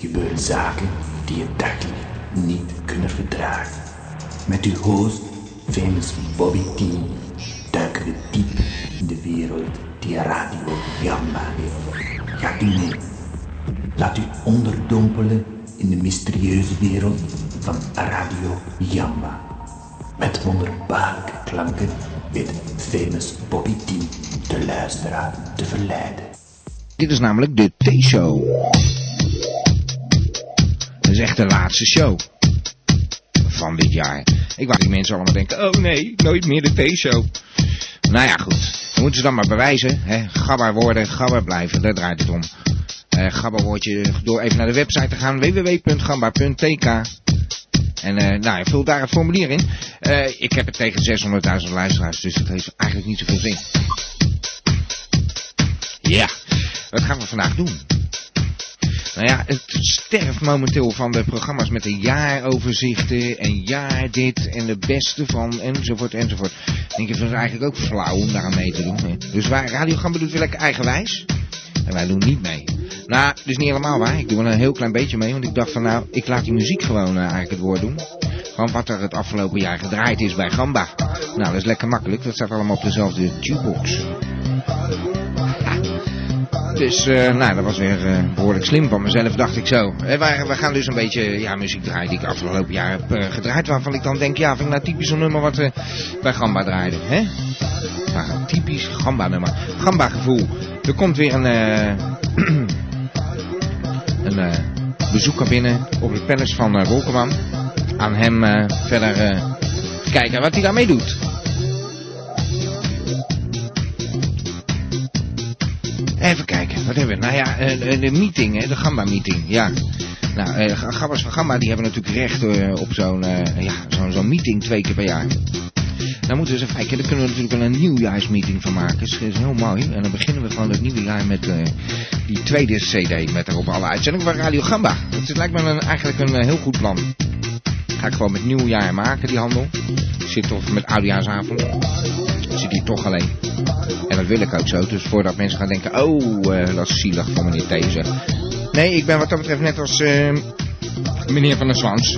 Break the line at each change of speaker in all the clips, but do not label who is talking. gebeuren zaken die je dagelijks niet kunnen verdragen. Met uw host, famous Bobby T, duiken we diep in de wereld die Radio Jamba heeft. Gaat u mee? Laat u onderdompelen in de mysterieuze wereld van Radio Jamba. Met wonderbaarlijke klanken weet famous Bobby T de luisteraar te verleiden.
Dit is namelijk de T-show. Dat is echt de laatste show van dit jaar. Ik wou dat die mensen allemaal denken, oh nee, nooit meer de T-show. Nou ja, goed. Dan moeten ze dan maar bewijzen. Hè? Gabber worden, gabber blijven. Daar draait het om. Eh gabber word je door even naar de website te gaan. www.gamba.tk En eh nou, vul daar het formulier in. Eh, ik heb het tegen 600.000 luisteraars, dus dat heeft eigenlijk niet zoveel zin. Ja, wat gaan we vandaag doen? Nou ja, het sterft momenteel van de programma's met de jaaroverzichten en jaar dit en de beste van enzovoort enzovoort. Ik denk, het was eigenlijk ook flauw om daar aan mee te doen. Hè. Dus waar Radio Gamba doet weer lekker eigenwijs. En wij doen niet mee. Nou, dat is niet helemaal waar. Ik doe wel een heel klein beetje mee, want ik dacht van nou, ik laat die muziek gewoon eh, eigenlijk het woord doen. Gewoon wat er het afgelopen jaar gedraaid is bij Gamba. Nou, dat is lekker makkelijk. Dat staat allemaal op dezelfde tubebox. Dus eh, nou, dat was weer eh, behoorlijk slim van mezelf, dacht ik zo. Eh, wij- we gaan dus een beetje ja, muziek draaien die ik afgelopen jaar heb eh, gedraaid. Waarvan ik dan denk, ja, vind ik nou typisch een nummer wat we bij Gamba draaiden. Hè? Maar een typisch Gamba nummer. Gamba gevoel. Er komt weer een, eh, een eh, bezoeker binnen op het palace van eh, Wolkenman. Aan hem eh, verder eh, kijken wat hij daarmee doet. Even kijken, wat hebben we? Nou ja, een, een- een meeting, hè? de Gamba-meeting, ja. Nou, eh, Ga- Gabbers van Gamba die hebben natuurlijk recht eh, op zo'n eh, ja, zo'n zo'n meeting twee keer per jaar. Dan moeten we eens even kijken, daar kunnen we natuurlijk wel een nieuwjaarsmeeting van maken. Dat is, is heel mooi. En dan beginnen we gewoon het nieuwe jaar met eh, die tweede CD met daarop alle uitzendingen van Radio Gamba. Dat is- lijkt me een- eigenlijk een eh, heel goed plan. Ga ik gewoon met nieuwjaar maken, die handel. Zit of met oudjaarsavond. Zit hier toch alleen. En dat wil ik ook zo. Dus voordat mensen gaan denken, oh, eh, dat is zielig van meneer These. Nee, ik ben wat dat betreft net als eh, meneer Van der Zwans.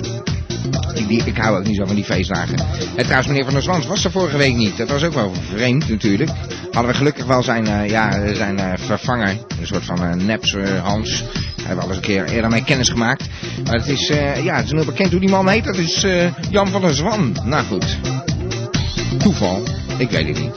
Ik, die, ik hou ook niet zo van die feestdagen. En trouwens, meneer Van der Zwans was er vorige week niet. Dat was ook wel vreemd natuurlijk. Hadden we gelukkig wel zijn, eh, ja, zijn eh, vervanger. Een soort van eh neps eh, Hans. Daar hebben we al eens een keer eerder mee kennis gemaakt. Maar het is, eh, ja, het is nog bekend hoe die man heet. Dat is eh, Jan van der Zwan. Nou goed. Toeval. Ik weet het niet.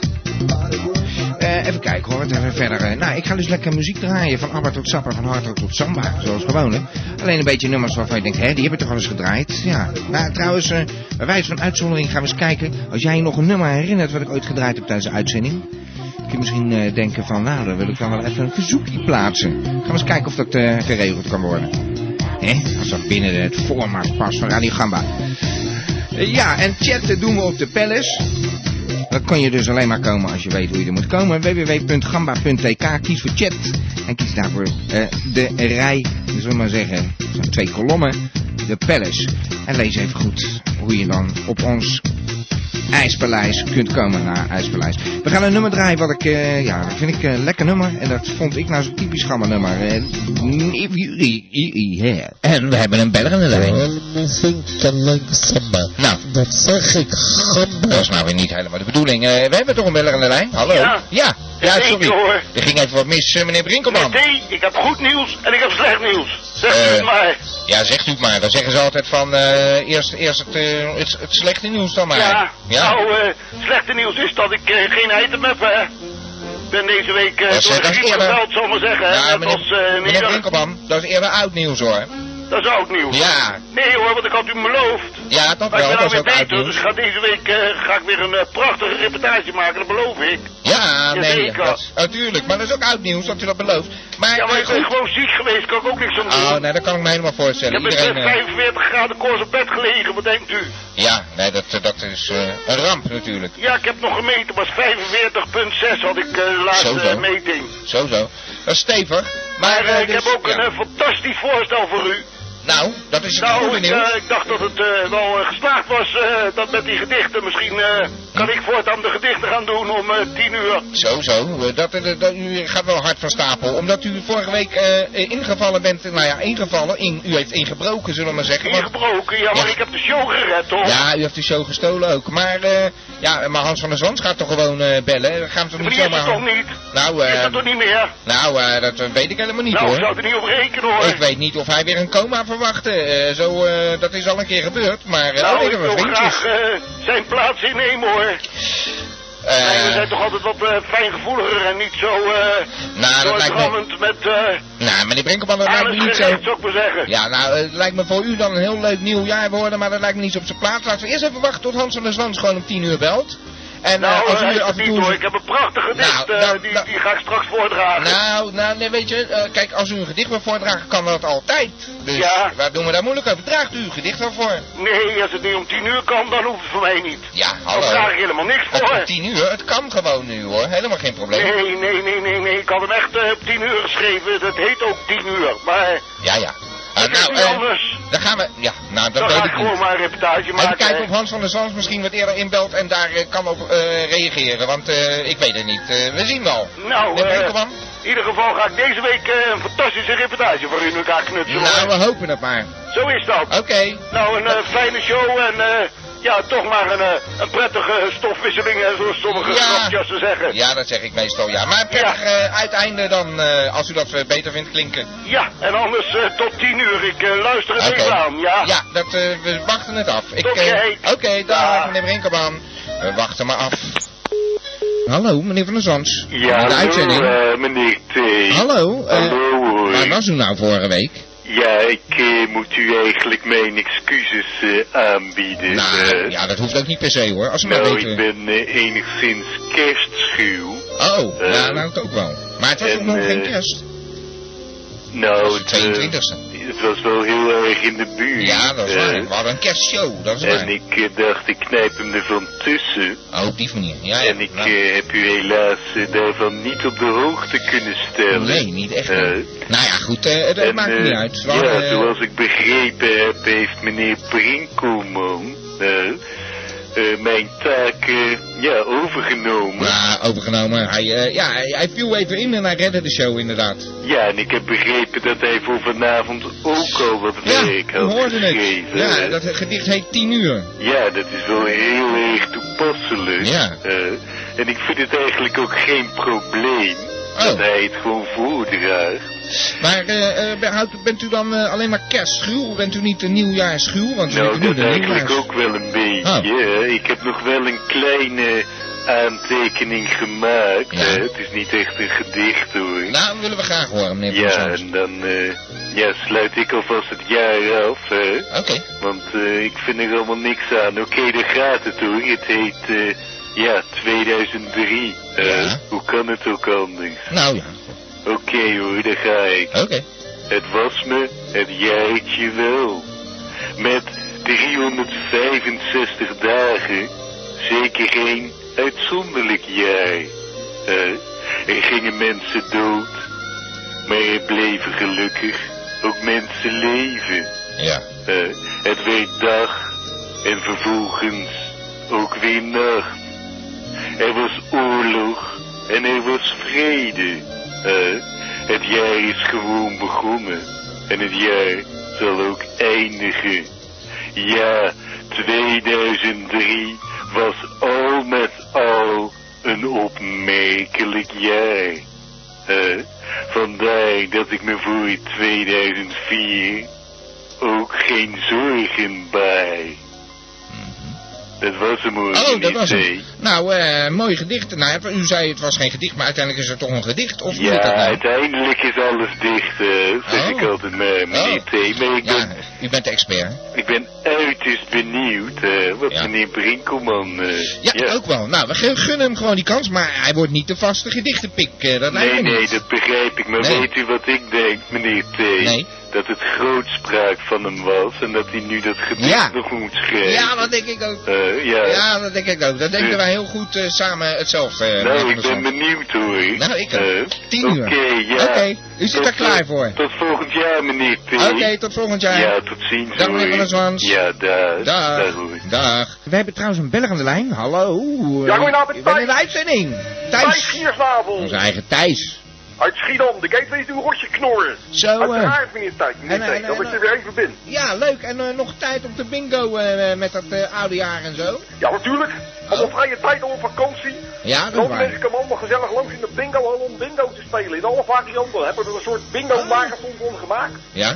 Eh, even kijken hoor, wat hebben we verder? Eh, nou, ik ga dus lekker muziek draaien. Van ABBA tot Sappa, van hardrock tot samba. Zoals gewoonlijk. Alleen een beetje nummers waarvan je denkt, hè, die hebben toch al eens gedraaid? Ja. Nou, trouwens, eh, bij wijze van uitzondering gaan we eens kijken. Als jij je nog een nummer herinnert wat ik ooit gedraaid heb tijdens de uitzending. Kun je misschien eh, denken van, nou, dan wil ik dan wel even een verzoekje plaatsen. Gaan we eens kijken of dat eh, geregeld kan worden. Hè? Als dat binnen het formaat past van Radio Gamba. Eh, ja, en chatten doen we op de Palace. Dan kan je dus alleen maar komen als je weet hoe je er moet komen. www.gamba.tk, kies voor chat. En kies daarvoor eh, de rij, zullen we maar zeggen, zo'n twee kolommen, de palace. En lees even goed hoe je dan op ons IJspaleis kunt komen naar IJspaleis. We gaan een nummer draaien wat ik, eh, ja, dat vind ik een lekker nummer. En dat vond ik nou zo'n typisch gamma nummer. Eh, if you- i- i- i- yeah. En we hebben een beller in de lijn.
Anything can like samba.
Nou,
Dat zeg ik gamba.
dat is nou weer niet helemaal de bedoeling. Eh, we hebben toch een beller in de lijn? Hallo?
Ja.
Ja,
Ja,
Ja,
zeker,
sorry.
hoor.
Er ging even wat mis, eh, meneer Brinkelman.
Nee, ik heb goed nieuws en ik heb slecht nieuws. Zeg
Eh.
u het maar.
Ja, zegt u het maar. Dan zeggen ze altijd van eh, eerst, eerst het, eh, het, het slechte nieuws dan maar.
Ja.
ja.
Nou, eh, slechte nieuws is dat ik eh, geen item heb, hè. Ik ben deze week eh
Dat is-
door de
dat is
griep
eerder.
gebeld, zal maar zeggen.
Ja,
hè. Net
Nou, meneer,
als eh,
meneer
meneer-
Brinkelman, dat is eerder oud nieuws hoor.
Dat is oud nieuws.
Ja,
Nee hoor, want ik had u beloofd.
ja dat
Maar ik
wel,
ben
dat is
alweer
ook oud
beter,
nieuws.
dus ga deze week eh, ga ik weer een eh, prachtige reportage maken, dat beloof ik.
Ja, nee,
Jazeker.
dat, natuurlijk. Maar dat is ook oud nieuws dat u dat belooft. Maar,
Ja, maar
eh,
ik ben
goed.
gewoon ziek geweest, kan ik ook niks aan doen.
Oh, nee, dat kan ik me helemaal
ik
voorstellen.
heb met eh,
Iedereen, eh,
45 graden koorts op bed gelegen, wat denkt u?
ja, nee, dat, eh, dat is eh, een ramp natuurlijk.
Ja, ik heb nog gemeten, was 45,6 had ik eh, de
Zo,
laatste
zo.
eh, meting.
Zo, zo. Dat is stevig. Maar,
Maar eh,
eh,
ik
dus-
heb ook
ja.
een eh, fantastisch voorstel voor u.
Nou, dat is het
nou,
goede
ik,
nieuws.
eh, ik dacht dat het eh, wel eh, geslaagd was eh, dat met die gedichten misschien eh,
Kan ik voortaan de gedichten gaan doen om eh, tien uur?
Zo, zo. eh, Dat, eh, dat, u gaat wel hard van stapel. Omdat u vorige week eh, eh, ingevallen bent. Nou ja, ingevallen. In, u heeft ingebroken, zullen we maar zeggen. want-
Ingebroken, ja, maar
Ja.
ik heb de show gered, toch?
ja, u heeft uw show gestolen ook. Maar, eh, ja, maar Hans van der Zwans gaat toch gewoon eh, bellen? We gaan toch
Maar
niet
die is er
zomaar...
toch niet?
Nou, eh,
Is dat toch niet meer?
nou eh, dat eh, weet ik helemaal niet
nou, ik
hoor.
zou er niet op rekenen, hoor.
Ik weet niet of hij weer een coma verwachtte. Eh, zo, eh, dat is al een keer gebeurd. Maar eh, oh,
nou,
nee,
ik
dat was
wil
vriendjes.
graag eh, zijn plaats innemen, hoor.
Eh,
Nee, we zijn toch altijd wat eh, fijngevoeliger en niet zo eh
nou, dat lijkt me...
doordrammend met eh
Nou, meneer Brinkman, dat lijkt
alles
me niet zo...
gericht, zou ik maar zeggen.
Ja, nou, het lijkt me voor u dan een heel leuk nieuwjaar worden, maar dat lijkt me niet op zijn plaats. Laten we eerst even wachten tot Hans van der Zwans gewoon om 10 uur belt. En eh,
Nou,
als
eh,
u
ik
af en
niet hoor. Ik
toe...
heb een prachtig gedicht,
Nou,
eh,
nou,
die,
nou.
die ga ik straks voordragen.
Nou, nou, nee, weet je, eh, kijk, als u een gedicht wil voordragen, kan dat altijd. Dus
Ja.
waar doen we daar moeilijk over? Draagt u uw gedicht wel voor?
Nee, als het niet om tien uur kan, dan hoeft het voor mij niet.
Ja,
Dan vraag
hallo.
ik helemaal niks
Op,
voor.
op 10 uur, het kan gewoon nu hoor, helemaal geen probleem.
Nee, nee, nee, nee, nee. Ik had hem echt eh, op tien uur geschreven. Dat heet ook tien uur. Maar
Ja, ja. Eh,
het is
nou,
nu
eh,
anders.
dan gaan we... Ja, nou, dat
Dan
weet
ga ik
ik niet.
gewoon maar een reportage
Even
maken.
kijken
eh,
hè.
of Hans van der Zwans misschien wat eerder inbelt en daar eh, kan op eh, reageren, want eh, ik weet het niet. Eh, we zien wel.
Nou,
Meneer
eh,
Beukelman?
in ieder geval ga ik deze week eh, een fantastische reportage voor u in elkaar knutselen.
Nou, we hopen het maar.
Zo is dat.
Oké.
Nou, een eh, fijne show en eh, ja, toch maar een, eh, een prettige stofwisseling, eh, zoals sommige
Ja.
grapjassen zeggen.
Ja, dat zeg ik meestal, ja. Maar prettig eh, uiteinde dan, eh, als u dat eh, beter vindt klinken.
Ja, en anders eh, tot tien uur. Ik eh, luister het
Oké.
even aan, ja?
Ja, dat, eh, we wachten het af. Ik,
Tot
eh,
je eet.
Oké, dag,
Dag.
meneer Brinkelman. We wachten maar af. Hallo, meneer Van der Zans.
Ja,
de
hallo,
uitzending.
eh, meneer T.
hallo. eh,
Hallo, hoi.
waar was u nou vorige week?
Ja, ik eh, moet u eigenlijk mijn excuses eh, aanbieden.
nou,
eh.
ja, dat hoeft ook niet per se hoor. Als u maar
Nou,
weet.
ik ben eh, enigszins kerstschuw.
Oh,
eh,
nou, nou, het ook wel. Maar het was
en,
ook nog geen
eh,
kerst.
Nou,
Dat is de
eh,
22e.
het was wel heel erg in de buurt.
Ja, dat is
eh,
waar. We hadden een kerstshow, dat is
En
waar.
ik eh, dacht, ik knijp hem ervan tussen.
Oh, op die manier. Ja, ja.
En ik
Nou,
eh, heb u helaas eh, daarvan niet op de hoogte kunnen stellen.
Nee, niet echt.
Eh,
nou ja, goed, eh, het het maakt
eh,
niet uit. We
ja,
hadden, eh,
zoals ik begrepen heb, heeft meneer Brinkelman eh, eh, mijn taak eh, ja, overgenomen.
nou, overgenomen. Hij, eh, ja, hij, hij viel even in en hij redde de show inderdaad.
Ja, en ik heb begrepen dat hij voor vanavond ook al wat
Ja,
werk
we
had
hoorden het.
geschreven.
Ja, dat gedicht heet 10 uur.
Ja, dat is wel heel erg toepasselijk.
Ja.
Eh, en ik vind het eigenlijk ook geen probleem
Oh.
dat hij het gewoon voordraagt.
Maar eh, eh, ben- houdt- bent u dan eh, alleen maar kerstschuw? Bent u niet een nieuwjaarschuw? Want we
nou,
zitten nu
dat
de
eigenlijk
nieuwjaars...
ook wel een beetje. hè. Ik heb nog wel een kleine aantekening gemaakt.
Ja.
hè. Het is niet echt een gedicht hoor.
Nou, dat willen we graag horen, meneer Van
ja,
Zans.
en dan eh, ja, sluit ik alvast het jaar af. hè.
Oké.
Want eh, ik vind er allemaal niks aan. Oké, daar gaat het hoor. Het heet, eh, ja, 2003. Eh,
Ja.
Hoe kan het ook anders?
Nou ja,
Oké hoor, daar ga ik.
oké.
Het was me, het jaartje wel. Met 365 dagen. Zeker geen uitzonderlijk jaar. Eh, er gingen mensen dood. Maar er bleven gelukkig ook mensen leven.
Ja.
Eh, het werd dag en vervolgens ook weer nacht. Er was oorlog en er was vrede. Eh, het jaar is gewoon begonnen en het jaar zal ook eindigen. Ja, 2003 was al met al een opmerkelijk jaar. Eh, vandaar dat ik me voor 2004 ook geen zorgen bij. Dat was hem hoor.
Mhm. Oh, dat
meneer
was
T.
het. Nou, eh, mooi gedicht. Nou, ja, u zei het was geen gedicht, maar uiteindelijk is het toch een gedicht? Of moet
Ja,
ik dat nou?
uiteindelijk is alles dicht, eh, zeg
Oh.
ik altijd maar, meneer
Oh.
T. Maar ik ben,
Ja, u bent de expert. hè?
ik ben uiterst benieuwd eh, wat
Ja.
meneer Brinkelman... eh,
Ja, ook wel. Nou, we gun- gunnen hem gewoon die kans, maar hij wordt niet de vaste gedichtenpik. eh, dat lijkt
Nee,
me
nee,
niet.
dat begrijp ik. Maar
Nee.
weet u wat ik denk, meneer T?
Nee.
dat het grootspraak van hem was en dat hij nu dat gedicht
Ja.
nog moet schrijven.
Ja, dat denk ik ook.
Eh, ja.
Ja, dat denk ik ook. Dat denken wij heel goed eh, samen hetzelfde. eh,
Nou,
meneer
ik
Van
ben
der
benieuwd hoor.
Nou, ik ook.
Eh,
Tien uur.
Oké, ja.
Zand. Oké, u zit
Tot,
er klaar
eh,
voor.
Tot volgend jaar, meneer T.
Oké, tot volgend jaar.
Ja, tot ziens.
Dag, meneer
hoor.
Van der Zwans.
Ja, daar.
Dus, eh,
Dag.
hoor.
Dag. We hebben trouwens een beller aan de lijn. Hallo. eh,
Ja, goedenavond,
Ik ben in
Thijs.
de uitzending.
Thijs
Thijs.
Giersnavel.
Onze eigen Thijs.
Uit Schiedam, de gateway is uw rotje knorren.
Zo, eh,
Uiteraard, meneer Tijd. Meneer
en, eh,
Tijd,
en,
dat
eh,
ik er weer even ben.
ja, leuk. En eh, nog tijd op de bingo eh, met dat eh, oude jaar en zo.
Ja, natuurlijk. Allemaal vrije tijd, allemaal vakantie.
Oh. Ja, dat is
Dan mensen
waar.
komen allemaal gezellig langs in de bingo hall om bingo te spelen. In alle varianten hebben we er een soort
Oh.
bingo-marathon van gemaakt.
Ja?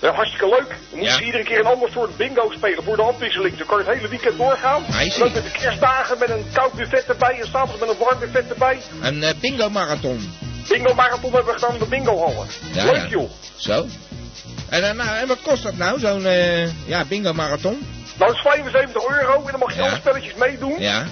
Ja, hartstikke leuk. Dan moeten
Ja.
ze iedere keer een ander soort bingo spelen voor de afwisseling. Dan kan je het hele weekend doorgaan.
Hij is
En ook
ziek.
met de kerstdagen met een koud buffet erbij en s'avonds met een warm buffet erbij.
Een eh, bingo-marathon.
Bingo-marathon hebben we gedaan in de bingo-hallen.
Ja,
leuk
ja.
joh.
Zo. En, eh, nou, en wat kost dat nou, zo'n eh, ja, bingo-marathon?
Nou, dat is 75 euro en dan mag je
Ja.
alle spelletjes meedoen.
Ja.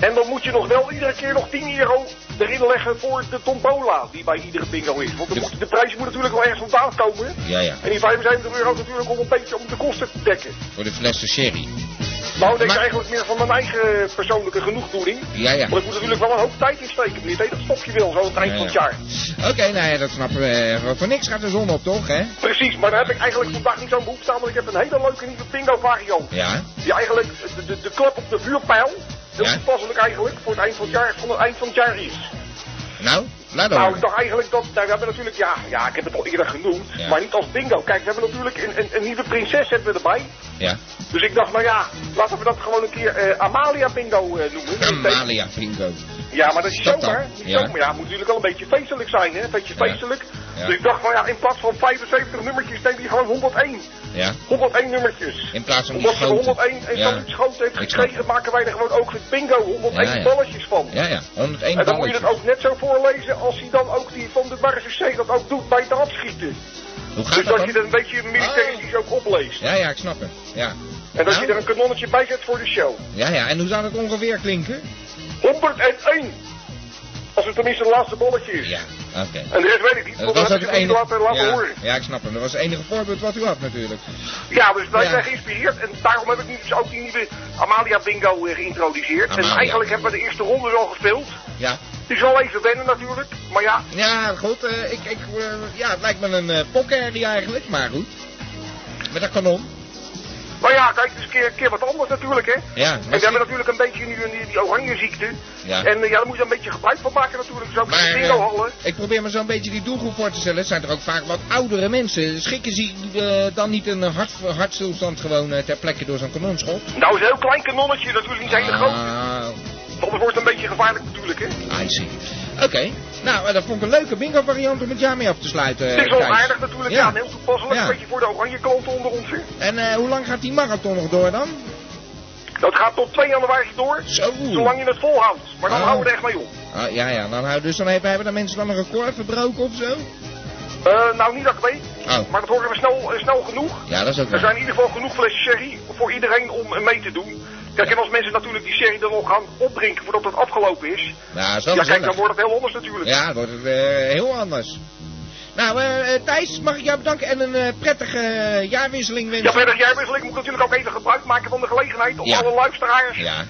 En dan moet je nog wel iedere keer nog 10 euro erin leggen voor de tombola die bij iedere bingo is. Want de,
Ja.
moet, de prijs moet natuurlijk wel ergens vandaan komen.
Ja, ja.
En die 75 euro is natuurlijk om een beetje om de kosten te dekken.
Voor de flessen sherry.
Nou, ik denk
Maar-
eigenlijk meer van mijn eigen persoonlijke genoegdoening.
Ja, ja.
Want ik moet natuurlijk wel een hoop tijd insteken, meneer. T. Dat stop je wel, zo aan het eind
Ja,
van het
ja.
jaar.
Oké, nou ja, dat snappen we. Eh, Voor niks gaat de zon op, toch, hè?
Precies, maar daar heb ik eigenlijk vandaag niet zo'n behoefte aan, want ik heb een hele leuke nieuwe bingo-variant.
Ja.
Die eigenlijk, de, de, de klap op de vuurpijl, heel
Ja.
toepasselijk eigenlijk, voor het eind van het jaar, van het eind van het jaar is.
Nou, laat
Nou, ik
horen.
dacht eigenlijk dat, nou, we hebben natuurlijk, ja, ja, ik heb het al eerder genoemd,
Ja.
maar niet als bingo. Kijk, we hebben natuurlijk een, een, een nieuwe prinses hebben we erbij.
Ja.
Dus ik dacht, nou ja, laten we dat gewoon een keer eh, Amalia bingo eh, noemen.
Amalia bingo.
Ja, maar dat is
Is dat
zomaar.
dan?
Niet
Ja.
zomaar. Ja, het moet natuurlijk wel een beetje feestelijk zijn, hè? Een beetje
Ja.
feestelijk.
Ja.
Dus ik dacht, nou ja, in plaats van 75 nummertjes, neem je gewoon 101.
Ja.
101 nummertjes.
In plaats van die
Omdat je
schoten.
101 en
Ja.
dan iets schoten heeft
Ik snap
gekregen,
het.
maken wij er gewoon ook het bingo 101
Ja, ja.
balletjes van.
Ja, ja. 101
En dan moet
balletjes.
je het ook net zo voorlezen als hij dan ook die van de Barresse C dat ook doet bij het afschieten.
Hoe
Dus
gaat
dat
dat
je
dan? Oh.
dat een beetje militaristisch ook opleest.
Ja, ja, ik snap het. Ja.
En dat
Nou?
je er een kanonnetje bij zet voor de show.
Ja, ja. En hoe zou dat ongeveer klinken?
101! Als het tenminste het laatste balletje is.
Ja, oké.
En de rest weet ik niet,
Dat
want dat
was
heb
ook het
ik het niet
enige.
laten, laten
Ja,
horen.
ja, ik snap hem. Dat was het enige voorbeeld wat u had, natuurlijk.
Ja, dus wij
Ja.
zijn geïnspireerd en daarom heb ik nu dus ook die nieuwe Amalia Bingo eh, geïntroduceerd.
Amalia.
En eigenlijk hebben we de eerste ronde al gespeeld.
Ja.
Het is wel even wennen natuurlijk, maar ja,
Ja, goed. eh, ik, ik, eh, ja, het lijkt me een eh pokherrie eigenlijk, maar goed. Met dat kanon.
maar ja, kijk, het is een keer, keer wat anders natuurlijk hè.
Ja,
En we hebben
misschien-
natuurlijk een beetje nu een- die, die oranjeziekte.
Ja.
En eh, ja, daar moet je een beetje gebruik van maken natuurlijk. Zo
Maar,
met de
eh,
bingo hallen.
ik probeer me zo'n beetje die doelgroep voor te stellen. Het zijn er ook vaak wat oudere mensen. Schikken ze eh, dan niet een hart, hartstilstand gewoon eh, ter plekke door zo'n kanonschot?
Nou, is een heel klein kanonnetje, natuurlijk niet hele groot.
Ah,
Want het wordt een beetje gevaarlijk natuurlijk hè.
I see. Oké. Nou, eh, dat vond ik een leuke bingo variant om het jaar mee af te sluiten. eh,
Het is wel
Thijs.
aardig natuurlijk, ja, en heel toepasselijk.
Ja.
Een beetje voor de oranje klanten onder ons hè.
En eh, hoe lang gaat die marathon nog door dan?
Dat gaat tot 2 januari door.
Zo.
Zolang je het volhoudt. Maar dan
Ah.
houden we er echt mee op.
Ah, ja, ja. Dan, hou- dus dan hebben, hebben de mensen dan een record verbroken of zo?
Eh, nou, niet dat ik weet.
Oh.
Maar dat horen we snel, eh, snel genoeg.
Ja, dat is ook
Er
wel.
zijn in ieder geval genoeg flessen sherry voor iedereen om eh, mee te doen. Kijk, en als mensen natuurlijk die sherry dan nog gaan opdrinken voordat het afgelopen is.
Ja, dat is wel
Ja, kijk,
gezellig.
dan wordt het heel anders natuurlijk.
Ja, het wordt het eh, heel anders. Nou, eh, eh, Thijs, mag ik jou bedanken en een eh, prettige eh, jaarwisseling
Ja,
wensen.
verder jaarwisseling moet natuurlijk ook even gebruik maken van de gelegenheid om
Ja.
alle luisteraars
Ja,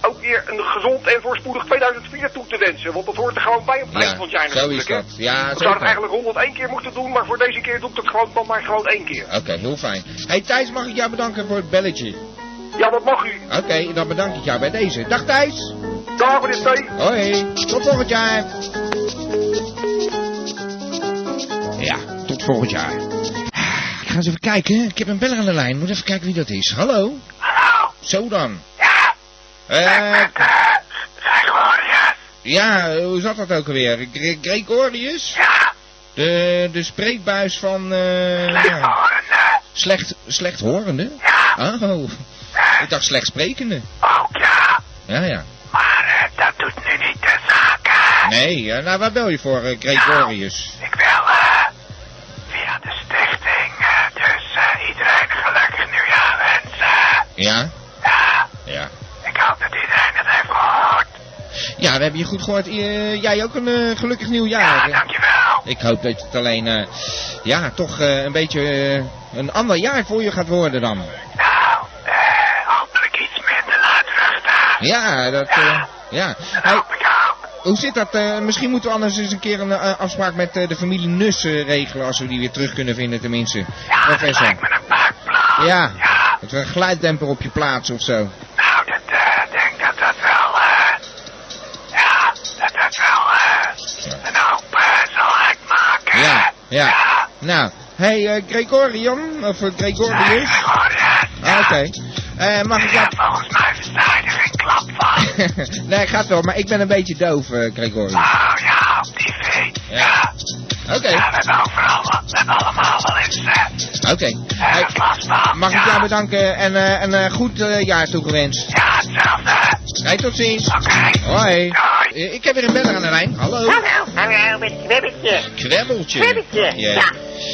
ook weer een gezond en voorspoedig 2004 toe te wensen. Want dat hoort er gewoon bij op het eind van het jaar
ja zo
natuurlijk.
is
hè.
dat. Ja,
Ik zou het
zeker.
eigenlijk 101 keer moeten doen, maar voor deze keer doe ik het gewoon dan maar gewoon één keer.
Oké, heel fijn. hey, Thijs, mag ik jou bedanken voor het belletje?
Ja, dat mag u.
Oké, dan bedank ik jou bij deze. Dag Thijs.
Dag meneer T.
Hoi, tot volgend jaar. Ja, tot volgend jaar. Ah, Ik ga eens even kijken. Ik heb een beller aan de lijn. Moet even kijken wie dat is. Hallo?
Hallo,
Zo dan.
ja,
Eh,
Gregorius.
ja, hoe zat dat ook alweer? Gre- Gregorius?
Ja,
De, de spreekbuis van... eh, ja,
horende.
slecht, slecht horende?
Ja,
Oh, ik dacht slecht sprekende.
ook ja.
Ja, ja.
Maar eh, dat doet nu niet de zaken.
Nee, eh, nou waar bel je voor, eh, Gregorius?
Ik wil eh, via de stichting eh, dus eh, iedereen gelukkig nieuwjaar wensen.
Ja?
Ja,
Ja.
ik hoop dat iedereen het heeft gehoord.
Ja, we hebben je goed gehoord. Eh, jij ook een eh, gelukkig nieuwjaar.
Dankjewel.
Ik hoop dat het alleen eh, ja, toch eh, een beetje eh, een ander jaar voor je gaat worden dan.
Nou, eh, hopelijk iets minder laat staan.
Ja, dat... eh, ja. Hey,
Hoop ik ook.
hoe zit dat? eh, misschien moeten we anders eens een keer een eh, afspraak met eh, de familie Nus eh, regelen. Als we die weer terug kunnen vinden tenminste.
Ja, dat
Professor.
lijkt me een parkplaats.
Ja.
Ja,
Dat we een glijddemper op je plaats of zo.
nou, dat, eh, ik denk dat dat wel, eh, ja, dat dat wel, eh, een hoop eh, zal uitmaken.
Ja, ja. Nou, hey eh, Gregorian, of eh, Gregorius.
Goed, ja.
Ah, Oké. Eh, mag ik
Ja,
jou...
volgens mij versta je er geen klap van.
nee, gaat wel, maar ik ben een beetje doof, eh, Gregorius.
Oh ja, op tv.
Ja. Oké,
Ja, we hebben overal wat. We hebben allemaal wel eens eh,
oké. Hey,
eh, last van.
mag ik
ja.
jou bedanken en eh, een eh, goed eh, jaar toegewenst.
Ja, hetzelfde.
Hey, tot ziens.
Oké.
Hoi.
Doei.
Eh, ik heb weer een beller aan de lijn. Hallo.
Hallo, hallo, met kwebbetje.
Kwebbeltje.
Kwebbetje. Ja,
Ja.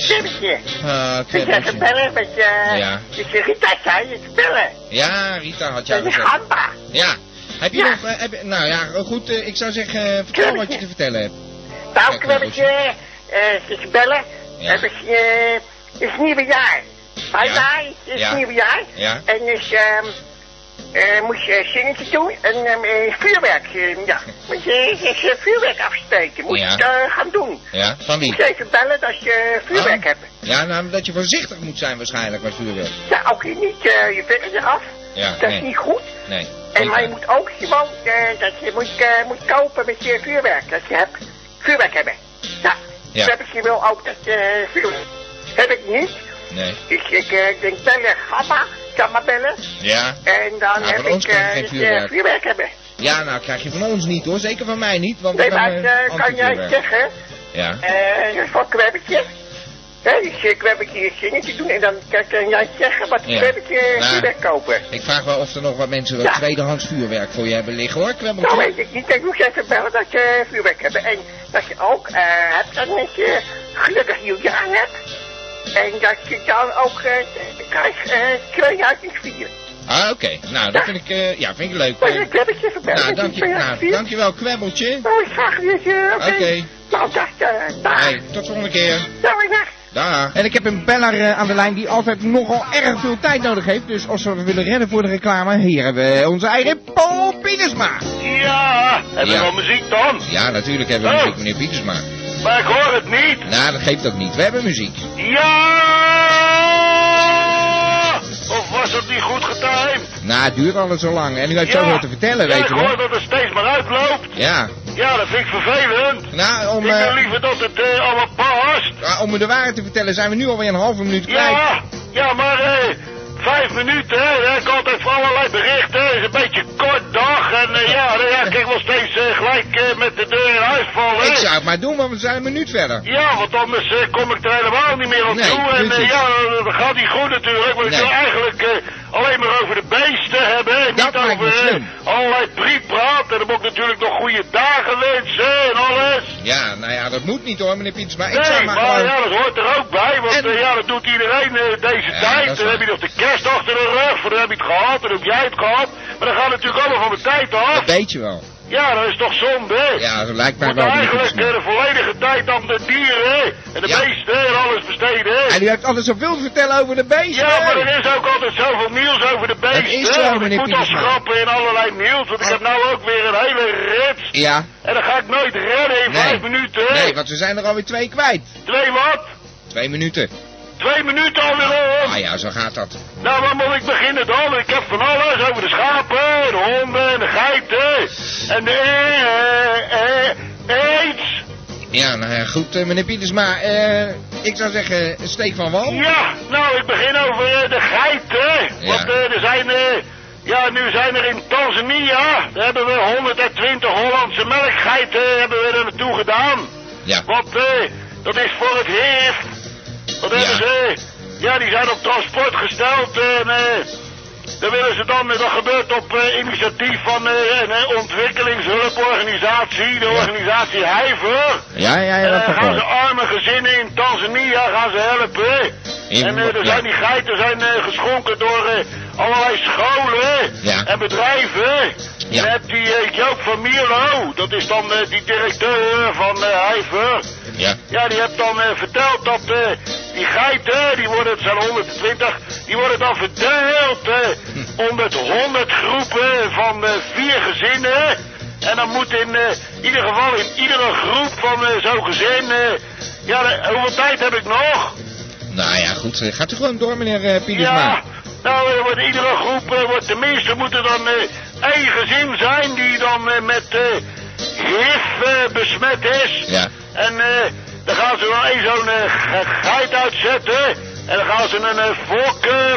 kwebbetje.
Ah,
Ik zeg
kwebbeltje.
gebellen met je...
Ja.
Ik zeg, Rita, zei je gebellen.
Ja, Rita had jou
Dat is
gezegd.
Gamba.
Ja. Heb je
Ja.
nog... eh, heb je- nou ja, goed, eh, ik zou zeggen, eh, vertel wat je te vertellen hebt.
Nou, kwebbetje, eh, ze gebellen.
Ja.
Het is, eh, het is nieuwe jaar. Bye
Ja.
bye, het is
Ja.
nieuwe jaar.
Ja.
En dus, ehm... eh moest je zingetje doen en ehm, eh, vuurwerk, eh, ja. Moet je eens eh, vuurwerk afsteken, moet
Ja.
je het eh, gaan doen.
Ja, van wie?
Moet je even bellen als je vuurwerk
Ah.
hebt.
Ja, nou, dat je voorzichtig moet zijn waarschijnlijk bij vuurwerk.
Ja, ook je niet eh, je vinger eraf,
Ja,
dat
nee.
is niet goed.
Nee.
En maar je
Zeker.
moet ook gewoon eh, dat je moet, eh, moet kopen met je vuurwerk. Dat je hebt vuurwerk hebben. Ja.
Ja.
Dat heb ik je wil ook dat eh, vuurwerk. Heb ik niet.
Nee.
Dus ik eh, denk bellen, gamma, kan maar bellen.
Ja.
En dan
Ja,
heb
van ons
ik
kan je
eh,
geen
dat je
vuurwerk.
vuurwerk hebben.
Ja, nou krijg je van ons niet hoor. Zeker van mij niet. Want
Nee,
ik ben,
maar
eh,
eh, kan jij
anti-vuurwerk.
zeggen,
Ja.
eh, voor kwebbetje. Hè, dus eh, kwebbetje je zingetje doen en dan kan kan jij zeggen wat
Ja.
kwebbetje
Nou.
vuurwerk kopen.
Ik vraag wel of er nog wat mensen wat
Ja.
tweedehands vuurwerk voor je hebben liggen hoor. Kwebbeltje.
Nou weet ik niet, ik moest even bellen dat je vuurwerk hebt. En dat je ook eh hebt dat met je gelukkig nieuwjaar hebt. En dat je dan ook eh krijgt eh 2004.
Ah, oké. Nou, dat vind ik, eh, ja, vind ik leuk.
Maar ik heb het je verbeld.
nou, dank je, nou, dankjewel Kwebbeltje.
Oh, ik zag je. eh, Oké.
Oké.
Nou, dag. eh, dag.
Hey, tot de volgende keer.
Nou, ik dag.
Dag. En ik heb een beller eh, aan de lijn die altijd nogal erg veel tijd nodig heeft. Dus als we willen redden voor de reclame, hier hebben we onze eigen Paul Pietersma.
Ja, hebben we
Ja.
wel muziek dan?
Ja, natuurlijk hebben
we muziek,
meneer Pietersma.
Maar ik hoor het niet.
Nou, dat geeft ook niet. We hebben muziek.
Ja! Of was het niet goed getimed?
Nou, het duurt alles zo lang. En u heeft zoveel te vertellen,
ja,
weet je
ik hoor
wel.
dat het steeds maar uitloopt.
Ja.
Ja, dat vind ik vervelend.
Nou, om,
Ik wil
eh,
liever dat het eh, allemaal past.
ah, om u de waarheid te vertellen zijn we nu alweer een halve minuut kwijt.
Ja, ja, maar eh, vijf minuten, hè, daar heb ik altijd van allerlei berichten. Het is een beetje kort dag en eh, ja, nou ja, ik kijk wel steeds eh, gelijk eh, met de deur in huis vallen. hè.
Ik zou het maar doen, want we zijn een minuut verder.
Ja, want anders eh, kom ik er helemaal niet meer aan
Nee,
toe. En eh,
precies.
ja, dat gaat niet goed natuurlijk. Maar ik
Nee.
wil eigenlijk eh, alleen maar over de beesten hebben. hè.
Dat
niet
lijkt me
over eh,
slim.
allerlei prietpraat. En dan moet ik natuurlijk nog goede dagen wensen en alles.
Ja, nou ja, dat moet niet hoor, meneer Pieters. Maar ik zou
Nee,
maar
maar
gewoon...
ja, dat hoort er ook bij, want
En-
eh, ja, dat doet iedereen eh, deze
Ja, dat
tijd.
is
Dan heb je
waar.
nog de kerst achter de rug, voor dan heb je het gehad, dan heb jij het gehad. Maar dan gaat het natuurlijk allemaal van de tijd af.
Dat weet je wel.
Ja, dat is toch zonde, hè?
Ja, dat lijkt
Je
mij
moet
wel, meneer
eigenlijk eh,
Pietersma.
de volledige tijd aan de dieren hè, en de
Ja.
beesten hè, en alles besteden. Hè.
En u heeft altijd zoveel te vertellen over de beesten.
Ja, maar er is ook altijd zoveel nieuws over de beesten.
is
hè,
zo,
want ik
meneer
moet al
Pietersma.
schrappen in allerlei nieuws, want ik
Oh.
heb nou ook weer een hele rits.
Ja.
En dat ga ik nooit redden in
Nee.
vijf minuten. hè.
Nee, want we zijn er alweer twee kwijt.
Twee wat?
Twee minuten.
Twee minuten alweer om.
Ah ja, zo gaat dat.
Nou, waar moet ik beginnen dan? Ik heb van alles over de schapen, de honden, de geiten. En de eh, eh, eh, aids.
Ja, nou ja, goed, eh, meneer Pietersma. eh, ik zou zeggen, steek van wal.
Ja, nou, ik begin over eh, de geiten.
Ja.
Want eh, er zijn... eh, ja, nu zijn er in Tanzania... daar hebben we 120 Hollandse melkgeiten hebben we er naartoe gedaan.
Ja.
Want eh, dat is voor het heer. Wat
Ja.
hebben ze? Ja, die zijn op transport gesteld en eh, daar willen ze dan, dat gebeurt op eh, initiatief van eh, een eh, ontwikkelingshulporganisatie, de
Ja.
organisatie Heiver.
Ja, ja, ja, dat
En dan
toch
Eh, gaan ze
wel.
arme gezinnen in Tanzania gaan ze helpen.
In-
en eh, er zijn
ja.
die geiten zijn eh, geschonken door eh, allerlei scholen
Ja.
en bedrijven.
Ja.
Dan heb je eh, Joop van Mierlo, dat is dan eh, die directeur van eh Hiver.
Ja.
Ja, die hebt dan eh, verteld dat eh, die geiten, die worden, het zijn 120, die worden dan verdeeld eh, onder 100 groepen van eh, vier gezinnen. En dan moet in eh, ieder geval in iedere groep van eh, zo'n gezin, eh, ja, eh, hoeveel tijd heb ik nog?
Nou ja, goed. eh, Gaat u gewoon door, meneer eh, Pietersma.
Ja, nou, eh, wordt iedere groep, eh, wordt, tenminste moet er dan eh, één gezin zijn die dan eh, met eh HIV eh, besmet is.
Ja.
En eh, dan gaan ze dan één zo'n eh, ge- geit uitzetten. En dan gaan ze een eh,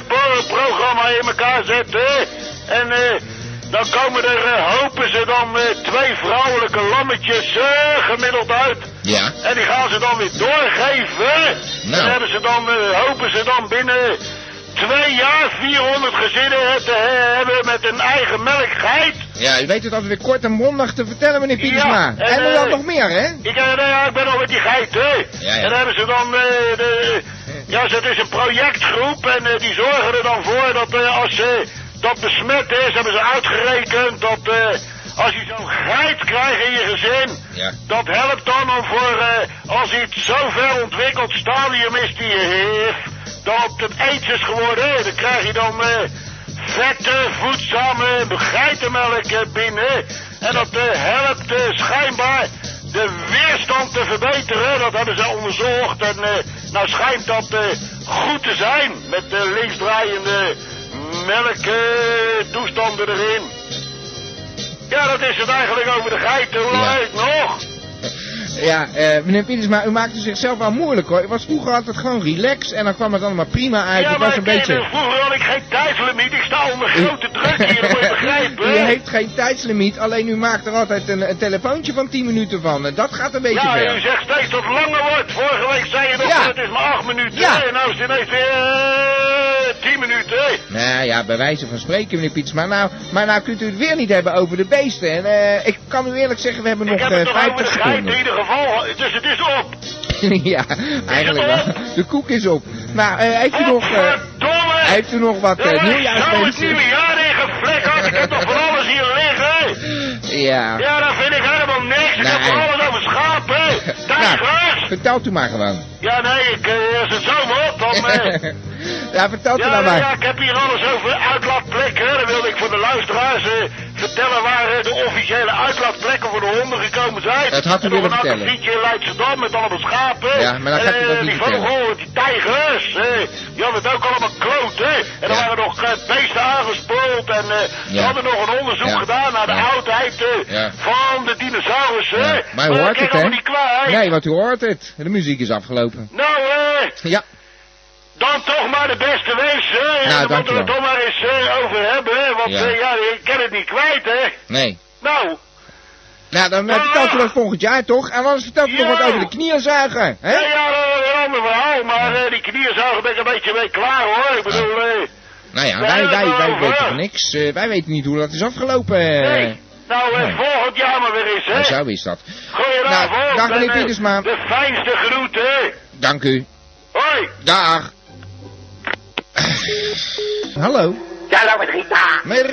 fokprogramma in elkaar zetten. En eh, dan komen er, eh, hopen ze dan, eh, twee vrouwelijke lammetjes eh, gemiddeld uit.
Ja.
En die gaan ze dan weer doorgeven.
Nou.
En hebben ze dan, eh, hopen ze dan binnen twee jaar 400 gezinnen te he- hebben met een eigen melkgeit.
Ja, u weet het altijd weer kort en mondig te vertellen, meneer Pietersma.
Ja, en,
en er dan
eh,
nog meer, hè?
Ik, eh, nou ja, ik ben al met die geit, hè.
ja.
En dan hebben ze dan... eh, de, ja, ze- het is een projectgroep en eh, die zorgen er dan voor dat eh, als eh, dat besmet is, hebben ze uitgerekend dat eh, als je zo'n geit krijgt in je gezin,
Ja.
dat helpt dan om voor eh, als iets zo ver ontwikkeld stadium is die heeft, dat het aids is geworden, dan krijg je dan eh, vette, voedzame geitenmelk eh, binnen. En dat eh, helpt eh, schijnbaar de weerstand te verbeteren. Dat hebben ze onderzocht en eh, nou schijnt dat eh, goed te zijn met eh, linksdraaiende melktoestanden erin. Ja, dat is het eigenlijk over de geiten. Hoe lang
Ja.
heb ik nog?
Ja, eh, meneer Pietersma, u maakt u zichzelf wel moeilijk, hoor. Ik was vroeger altijd gewoon relaxed en dan kwam het allemaal prima uit.
ja,
ik
maar
was een
ik-
beetje...
vroeger had ik geen tijdslimiet. Ik sta onder grote druk hier, dat moet je begrijpen.
U
hè?
heeft geen tijdslimiet, alleen u maakt er altijd een, een telefoontje van 10 minuten van. En dat gaat een beetje
Ja, en
ver.
u zegt steeds dat het langer wordt. Vorige week zei je nog,
Ja.
dat het is maar acht minuten.
Ja.
En nou is het ineens weer eh, tien minuten. hè?
Nou ja, bij wijze van spreken, meneer Pietersma. Nou, maar nou kunt u het weer niet hebben over de beesten. En eh, ik kan u eerlijk zeggen, we hebben
Ik
nog
heb het
eh,
toch over de
50
geiten in
seconden.
ieder geval. Dus het is op.
ja, eigenlijk wel. De koek is op. Nou, eh, heeft u nog... eh,
Godverdomme!
heeft u nog wat
Jongens,
uh,
nou, Zo het
nieuwjaarswensen?
nieuwe jaar ingeflikkerd. Ik heb toch van alles hier liggen.
Ja.
Ja, dat vind ik helemaal niks. Ik heb
Nee. Nou,
van alles over schapen. Tijgers.
vertelt u maar gewoon.
Ja, nee, ik, eh, als het zo wordt, dan... eh,
ja, vertelt u
Ja,
nou
ja,
maar.
ja, ik heb hier alles over uitlaatplekken. Dan wilde ik voor de luisteraars eh, vertellen waar eh, de officiële uitlaatplekken voor de honden gekomen zijn.
Dat had u
En nog
willen
een
vertellen.
akkefietje in Leidschendam met allemaal schapen.
Ja, maar dat
En,
gaat u
eh,
dat niet
Die
vertellen.
vogel, die tijgers, eh, die hadden het ook allemaal kloten. En er
Ja.
waren nog eh, beesten aangespoeld. En eh ze
Ja.
hadden nog een onderzoek
Ja.
gedaan naar de
Ja.
oudheid eh,
Ja.
van de dinosaurussen.
Ja, Maar u
dat
hoort
kreeg
het, hè?
allemaal niet kwijt.
Nee, want u hoort het. De muziek is afgelopen.
Nou, eh...
Ja,
Dan toch maar de beste wens, hè? En
Nou,
dan moeten
dankjewel.
we het toch maar eens eh, over hebben, hè? Want
Ja.
ja. ja, ik ken het niet kwijt, hè?
nee.
Nou, Ah.
Nou, dan eh, vertelt u dat volgend jaar toch? En anders vertelt u nog
Ja.
wat over de knieënzuiger, hè?
ja, ja, dat is een ander verhaal, maar eh, die knieënzuiger ben ik een beetje mee klaar, hoor. Ik bedoel, eh,
Nou ja,
Nee,
wij, wij,
dat
wij
wel,
weten
ja.
van niks. Eh, wij weten niet hoe dat is afgelopen. eh.
nee. Nou, eh,
nee.
volgend jaar maar weer eens,
Nou,
hè?
zo is dat.
Goedenavond.
Nou, dag,
en,
meneer
eh,
Pietersma.
De fijnste groeten, hè?
Dank u.
Hoi.
Dag. Hallo,
Ja, hallo met Rita.
met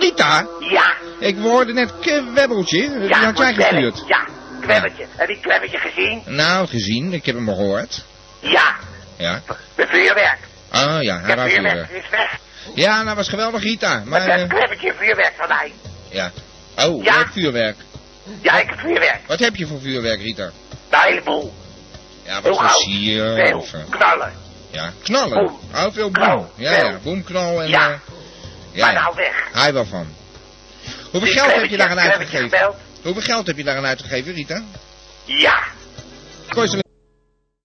Rita.
Ja,
Ik hoorde net kwebbeltje. Die
ja.
had jij
kwellen-
gestuurd.
Ja, kwemmetje. Heb je het kwemmetje gezien?
Nou, gezien. Ik heb hem gehoord.
Ja,
Ja.
met vuurwerk.
Oh ja, hij
Ja,
wou
vuurwerk
vuurwerk.
is weg.
Ja, nou was geweldig Rita. Maar,
Maar dat
eh,
kwemmetje vuurwerk van mij.
ja. Oh,
Ja.
jij hebt vuurwerk.
Ja, ik heb vuurwerk.
Wat heb je voor vuurwerk, Rita?
Nou, een heleboel.
Ja,
Heel
wat
oud.
voor sier
Oh, Veel.
of... eh,
Knallen.
ja, knallen.
Boom.
Oh, veel boom.
Knal.
Ja, ja,
Veel.
boomknal en...
Ja.
eh,
Maar
ja, ja.
nou weg. Dus
Hij wel van. Hoeveel
Die
geld heb je
klemmetje-
daaraan
klemmetje
uitgegeven?
gebeld.
Hoeveel geld heb je daaraan uitgegeven, Rita?
Ja,
Kost een